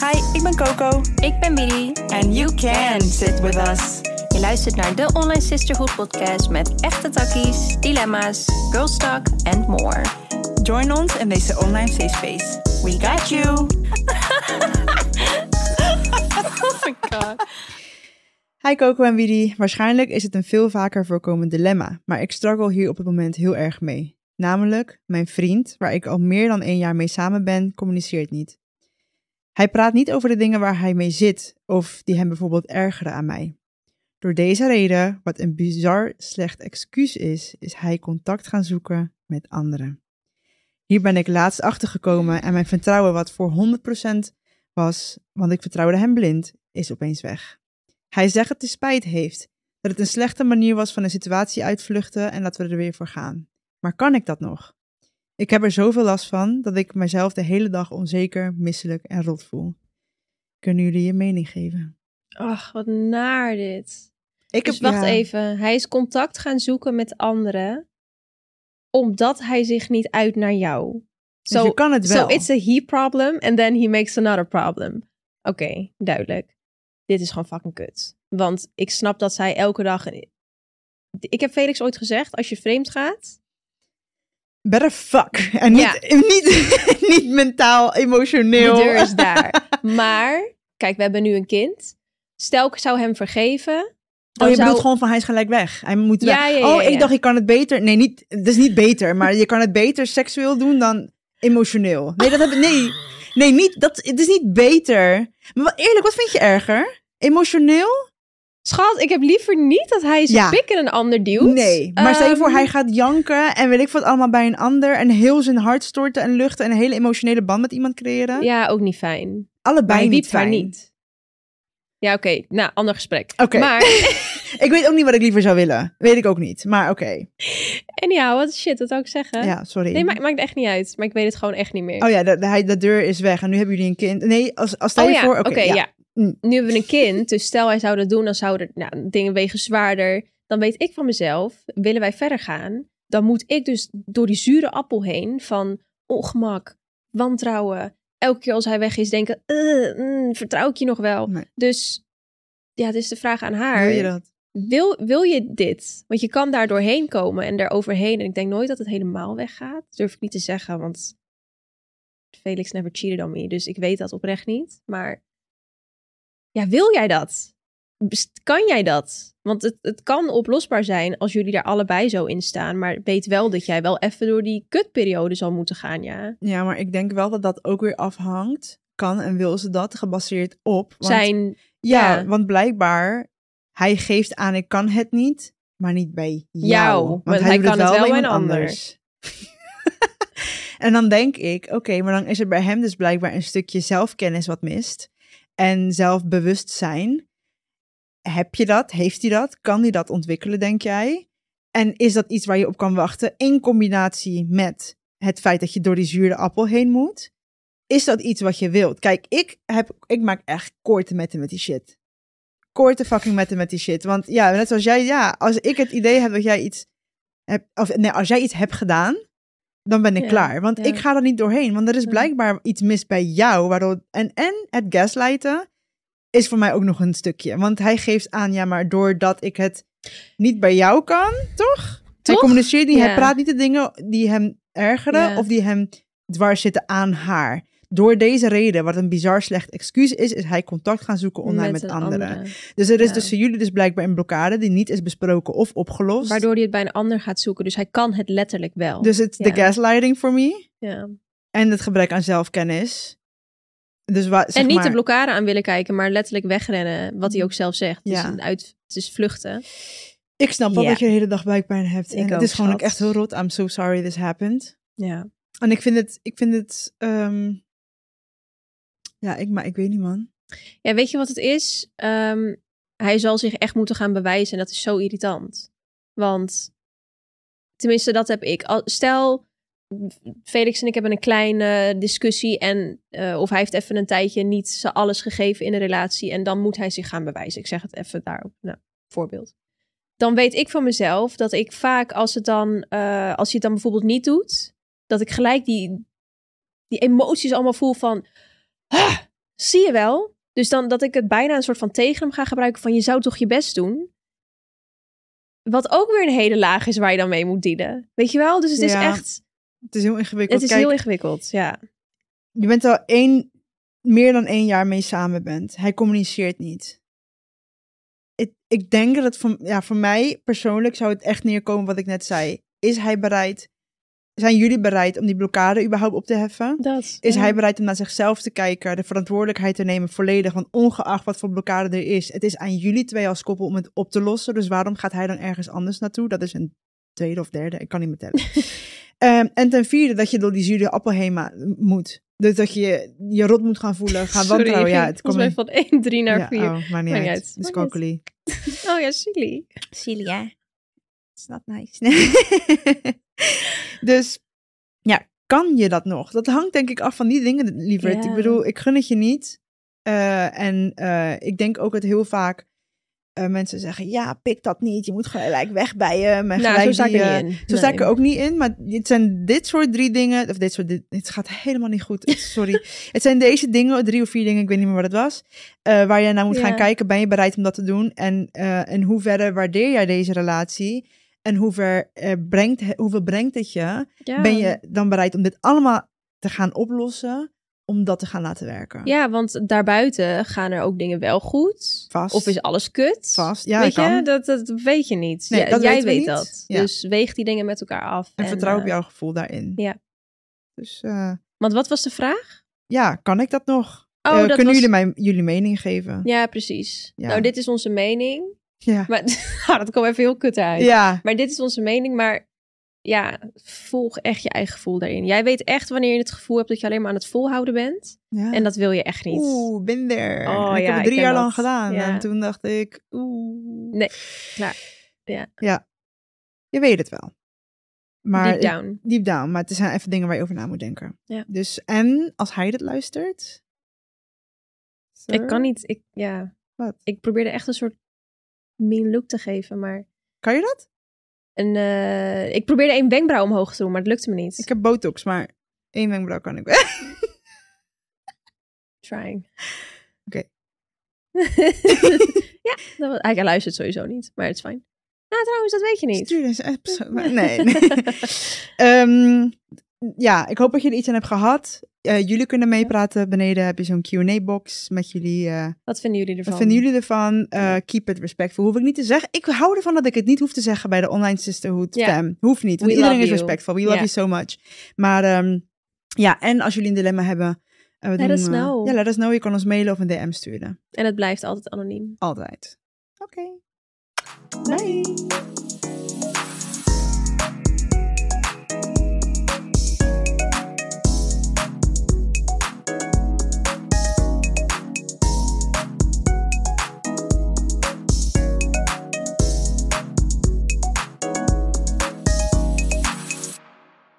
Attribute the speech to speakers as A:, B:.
A: Hi, ik ben Coco.
B: Ik ben Billy.
A: And you can sit with us.
B: Je luistert naar de Online Sisterhood podcast met echte takkies, dilemma's, girl talk and more.
A: Join ons in deze online safe space. We got you.
B: Oh my god.
C: Hi Coco en Widi. Waarschijnlijk is het een veel vaker voorkomend dilemma, maar ik struggle hier op het moment heel erg mee. Namelijk, mijn vriend, waar ik al meer dan één jaar mee samen ben, communiceert niet. Hij praat niet over de dingen waar hij mee zit of die hem bijvoorbeeld ergeren aan mij. Door deze reden, wat een bizar slecht excuus is, is hij contact gaan zoeken met anderen. Hier ben ik laatst achtergekomen en mijn vertrouwen, wat voor 100% was, want ik vertrouwde hem blind, is opeens weg. Hij zegt dat hij spijt heeft, dat het een slechte manier was van een situatie uitvluchten en laten we er weer voor gaan. Maar kan ik dat nog? Ik heb er zoveel last van dat ik mezelf de hele dag onzeker, misselijk en rot voel. Kunnen jullie je mening geven?
D: Ach, wat naar dit.
C: Ik
D: Dus wacht even. Hij is contact gaan zoeken met anderen. Omdat hij zich niet uit naar jou.
C: Zo
D: So,
C: Dus kan het wel.
D: so it's a he problem and then he makes another problem. Oké, duidelijk. Dit is gewoon fucking kut. Want ik snap dat zij elke dag... Ik heb Felix ooit gezegd, als je vreemd gaat...
C: Better fuck. En niet,
D: Ja.
C: niet, niet mentaal, emotioneel.
D: De deur is daar. maar, kijk, we hebben nu een kind. Stel, ik zou hem vergeven.
C: Oh,
D: dan
C: je
D: zou-
C: bedoelt gewoon van hij is gelijk weg. Hij moet weg.
D: Ja, ja, ja,
C: oh, ik
D: ja.
C: dacht, je kan het beter. Nee, niet, het is niet beter, maar je kan het beter seksueel doen dan emotioneel. Nee, dat heb ik. Nee, nee niet, dat, het is niet beter. Maar wat- eerlijk, wat vind je erger? Emotioneel?
D: Schat, ik heb liever niet dat hij zijn
C: Ja.
D: pik in een ander duwt.
C: Nee. Maar stel je voor,
D: Ehm,
C: hij gaat janken en weet ik wat allemaal bij een ander. En heel zijn hart storten en luchten en een hele emotionele band met iemand creëren.
D: Ja, ook niet fijn.
C: Allebei
D: maar hij
C: niet
D: wiept haar
C: fijn.
D: niet. Ja, oké. Nou, ander gesprek.
C: Oké.
D: Maar,
C: Ik weet ook niet wat ik liever zou willen. Weet ik ook niet. Maar oké.
D: anyhow, wat shit, wat zou ik zeggen?
C: Ja, sorry.
D: Nee, maakt, maakt echt niet uit. Maar ik weet het gewoon echt niet meer.
C: Oh ja, de, de, hij- de deur is weg en nu hebben jullie een kind. Nee, als, als stel
D: Oh
C: je
D: ja,
C: voor... Oké, ja. Mm.
D: Nu hebben we een kind, dus stel hij zou dat doen, dan zouden nou, dingen wegen zwaarder. Dan weet ik van mezelf, willen wij verder gaan, dan moet ik dus door die zure appel heen van ongemak, wantrouwen. Elke keer als hij weg is, denken, eh, mm, vertrouw ik je nog wel?
C: Nee.
D: Dus ja, het is de vraag aan haar.
C: Wil je dat?
D: wil, wil je dit? Want je kan daar doorheen komen en daar overheen. En ik denk nooit dat het helemaal weggaat. Dat durf ik niet te zeggen, want Felix never cheated on me. Dus ik weet dat oprecht niet. Maar ja, wil jij dat? Best- Kan jij dat? Want het, het kan oplosbaar zijn als jullie daar allebei zo in staan. Maar weet wel dat jij wel even door die kutperiode zal moeten gaan, ja.
C: Ja, maar ik denk wel dat dat ook weer afhangt. Kan en wil ze dat, gebaseerd op... want-
D: Zijn,
C: ja,
D: ja.
C: want blijkbaar, hij geeft aan ik kan het niet, maar niet bij jou.
D: Jou,
C: want
D: want
C: hij,
D: hij
C: doet
D: kan het
C: wel
D: wel
C: bij
D: bij
C: iemand
D: een ander.
C: anders. en dan denk ik, oké, maar dan is er bij hem dus blijkbaar een stukje zelfkennis wat mist. En zelfbewustzijn. Heb je dat? Heeft hij dat? Kan hij dat ontwikkelen, denk jij? En is dat iets waar je op kan wachten in combinatie met het feit dat je door die zure appel heen moet? Is dat iets wat je wilt? Kijk, ik, heb, ik maak echt korte metten met die shit. Korte fucking metten met die shit. Want ja, net zoals jij, ja, als ik het idee heb dat jij iets hebt, of nee, als jij iets hebt gedaan, dan ben ik
D: Ja,
C: klaar. Want
D: ja.
C: ik ga er niet doorheen, want er is
D: Ja.
C: blijkbaar iets mis bij jou. Waardoor, en, en het gaslighten is voor mij ook nog een stukje. Want hij geeft aan, ja, maar doordat ik het niet bij jou kan, toch? Hij
D: Toch?
C: communiceert niet, hij
D: Ja.
C: praat niet de dingen die hem ergeren
D: Ja.
C: of die hem dwars zitten aan haar. Door deze reden, wat een bizar slecht excuus is, is hij contact gaan zoeken online met,
D: een
C: anderen.
D: andere.
C: Dus er is
D: Ja.
C: tussen jullie dus blijkbaar een blokkade die niet is besproken of opgelost.
D: Waardoor hij het bij een ander gaat zoeken. Dus hij kan het letterlijk wel.
C: dus het is de
D: Ja.
C: gaslighting voor me
D: ja.
C: en het gebrek aan zelfkennis. Dus wa- zeg
D: en niet
C: maar, Mm.
D: de blokkade aan willen kijken, maar letterlijk wegrennen. Wat hij ook zelf zegt. Het,
C: Ja.
D: is, een uit, het is vluchten.
C: Ik snap wel
D: Ja.
C: dat je de hele dag buikpijn hebt.
D: Ik
C: en het
D: ook,
C: is gewoon ook
D: schat.
C: echt heel rot. I'm so sorry this happened.
D: Ja.
C: En ik vind het, ik vind het, ehm, ja, ik, maar ik weet niet man.
D: ja, weet je wat het is? Ehm, hij zal zich echt moeten gaan bewijzen. En dat is zo irritant. Want, tenminste, dat heb ik. Al- Stel, Felix en ik hebben een kleine discussie. En, eh, of hij heeft even een tijdje niet z'n alles gegeven in een relatie. En dan moet hij zich gaan bewijzen. Ik zeg het even daarop. Nou, voorbeeld. Dan weet ik van mezelf dat ik vaak, als, het dan, eh, als hij het dan bijvoorbeeld niet doet, dat ik gelijk die, die emoties allemaal voel van. "Ah, Zie je wel? Dus dan dat ik het bijna een soort van tegen hem ga gebruiken van je zou toch je best doen. Wat ook weer een hele laag is waar je dan mee moet dealen. Weet je wel? Dus het is
C: Ja.
D: echt,
C: Het is heel ingewikkeld.
D: het is
C: Kijk,
D: heel ingewikkeld. Ja.
C: je bent al één, meer dan één jaar mee samen bent. Hij communiceert niet. Ik, ik denk dat het voor, ja, voor mij persoonlijk zou het echt neerkomen wat ik net zei. Is hij bereid? Zijn jullie bereid om die blokkade überhaupt op te heffen?
D: Dat.
C: Is hij bereid om naar zichzelf te kijken, de verantwoordelijkheid te nemen volledig? Want ongeacht wat voor blokkade er is, het is aan jullie twee als koppel om het op te lossen. Dus waarom gaat hij dan ergens anders naartoe? Dat is een tweede of derde, ik kan niet meer tellen. Ehm, en ten vierde, dat je door die zure appel heen ma- moet. Dus dat je je rot moet gaan voelen, gaan wantrouwen. Ja, het
D: komt
C: komt
D: mij van 1, 3 naar
C: ja,
D: 4.
C: Oh, maakt niet
D: Maakt niet
C: uit.
D: uit. Maakt niet
C: Dyscalculie.
D: Oh ja, silly.
A: Celia. It's not nice.
C: dus ja, kan je dat nog? Dat hangt denk ik af van die dingen, lieverd.
D: Ja.
C: Ik bedoel, ik gun het je niet. Eh, en eh, ik denk ook dat heel vaak eh, mensen zeggen, ja, pik dat niet. Je moet gelijk weg bij hem. En
D: Nou,
C: gelijk
D: zo sta ik
C: die,
D: er
C: eh,
D: niet in.
C: Zo sta ik er ook niet in, maar het zijn dit soort drie dingen. Of dit soort. Dit, het gaat helemaal niet goed. Sorry. het zijn deze dingen, drie of vier dingen, ik weet niet meer wat het was. eh, waar je naar moet
D: Ja.
C: gaan kijken. Ben je bereid om dat te doen? En eh, in hoeverre waardeer jij deze relatie? En hoever, eh, brengt, hoeveel brengt het je?
D: Ja.
C: Ben je dan bereid om dit allemaal te gaan oplossen? Om dat te gaan laten werken?
D: Ja, want daarbuiten gaan er ook dingen wel goed.
C: Vast.
D: Of is alles kut.
C: Vast. Ja,
D: weet
C: kan.
D: je, dat, dat weet je niet.
C: Nee,
D: Ja,
C: dat
D: jij
C: weten we
D: weet
C: niet.
D: dat.
C: Ja.
D: Dus weeg die dingen met elkaar af.
C: En, vertrouw op
D: eh,
C: jouw gevoel daarin.
D: ja.
C: Dus eh,
D: Want wat was de vraag?
C: ja, kan ik dat nog?
D: Oh,
C: Eh,
D: dat
C: kunnen
D: was-
C: jullie mij jullie mening geven?
D: Ja, precies.
C: Ja.
D: Nou, dit is onze mening.
C: Ja.
D: Maar Ah, dat kwam even heel kut uit.
C: ja.
D: Maar dit is onze mening. Maar ja, volg echt je eigen gevoel daarin. Jij weet echt wanneer je het gevoel hebt dat je alleen maar aan het volhouden bent.
C: Ja.
D: En dat wil je echt niet.
C: Oeh, ben there.
D: Oh,
C: ik heb
D: ja,
C: het
D: ik
C: drie
D: ken
C: jaar
D: dat.
C: lang gedaan.
D: Ja.
C: En toen dacht ik, oeh.
D: Nee, klaar. Ja.
C: Ja. Je weet het wel. Maar
D: Deep down.
C: Deep down, maar het zijn even dingen waar je over na moet denken.
D: Ja.
C: Dus, en als hij dit luistert... sir,
D: Ik kan niet. Ik, ja.
C: Wat?
D: Ik probeerde echt een soort mean look te geven, maar
C: Kan je dat?
D: een, eh, ik probeerde één wenkbrauw omhoog te doen, maar het lukte me niet.
C: Ik heb botox, maar één wenkbrauw kan ik wel.
D: Trying.
C: Oké.
D: ja, dat was, hij luistert sowieso niet, maar het is fijn. Nou, trouwens, dat weet je niet.
C: Stuur deze episode. maar- Nee. nee. Ehm, ja, ik hoop dat jullie iets aan hebben gehad. Eh, jullie kunnen meepraten. Beneden heb je zo'n Q&A-box met jullie... eh,
D: Wat vinden jullie ervan?
C: Wat vinden jullie ervan? Eh, keep it respectful. Hoef ik niet te zeggen. Ik hou ervan dat ik het niet hoef te zeggen bij de online sisterhood
D: Ja.
C: fam. Hoeft niet. Want
D: We
C: iedereen
D: love
C: is
D: you.
C: respectful. We love
D: Ja.
C: you so much. Maar ehm, ja, en als jullie een dilemma hebben. eh, we
D: Let
C: doen,
D: us
C: eh,
D: know.
C: Ja, let us know. Je kan ons mailen of een DM sturen.
D: En het blijft altijd anoniem.
C: Altijd. Oké. Bye.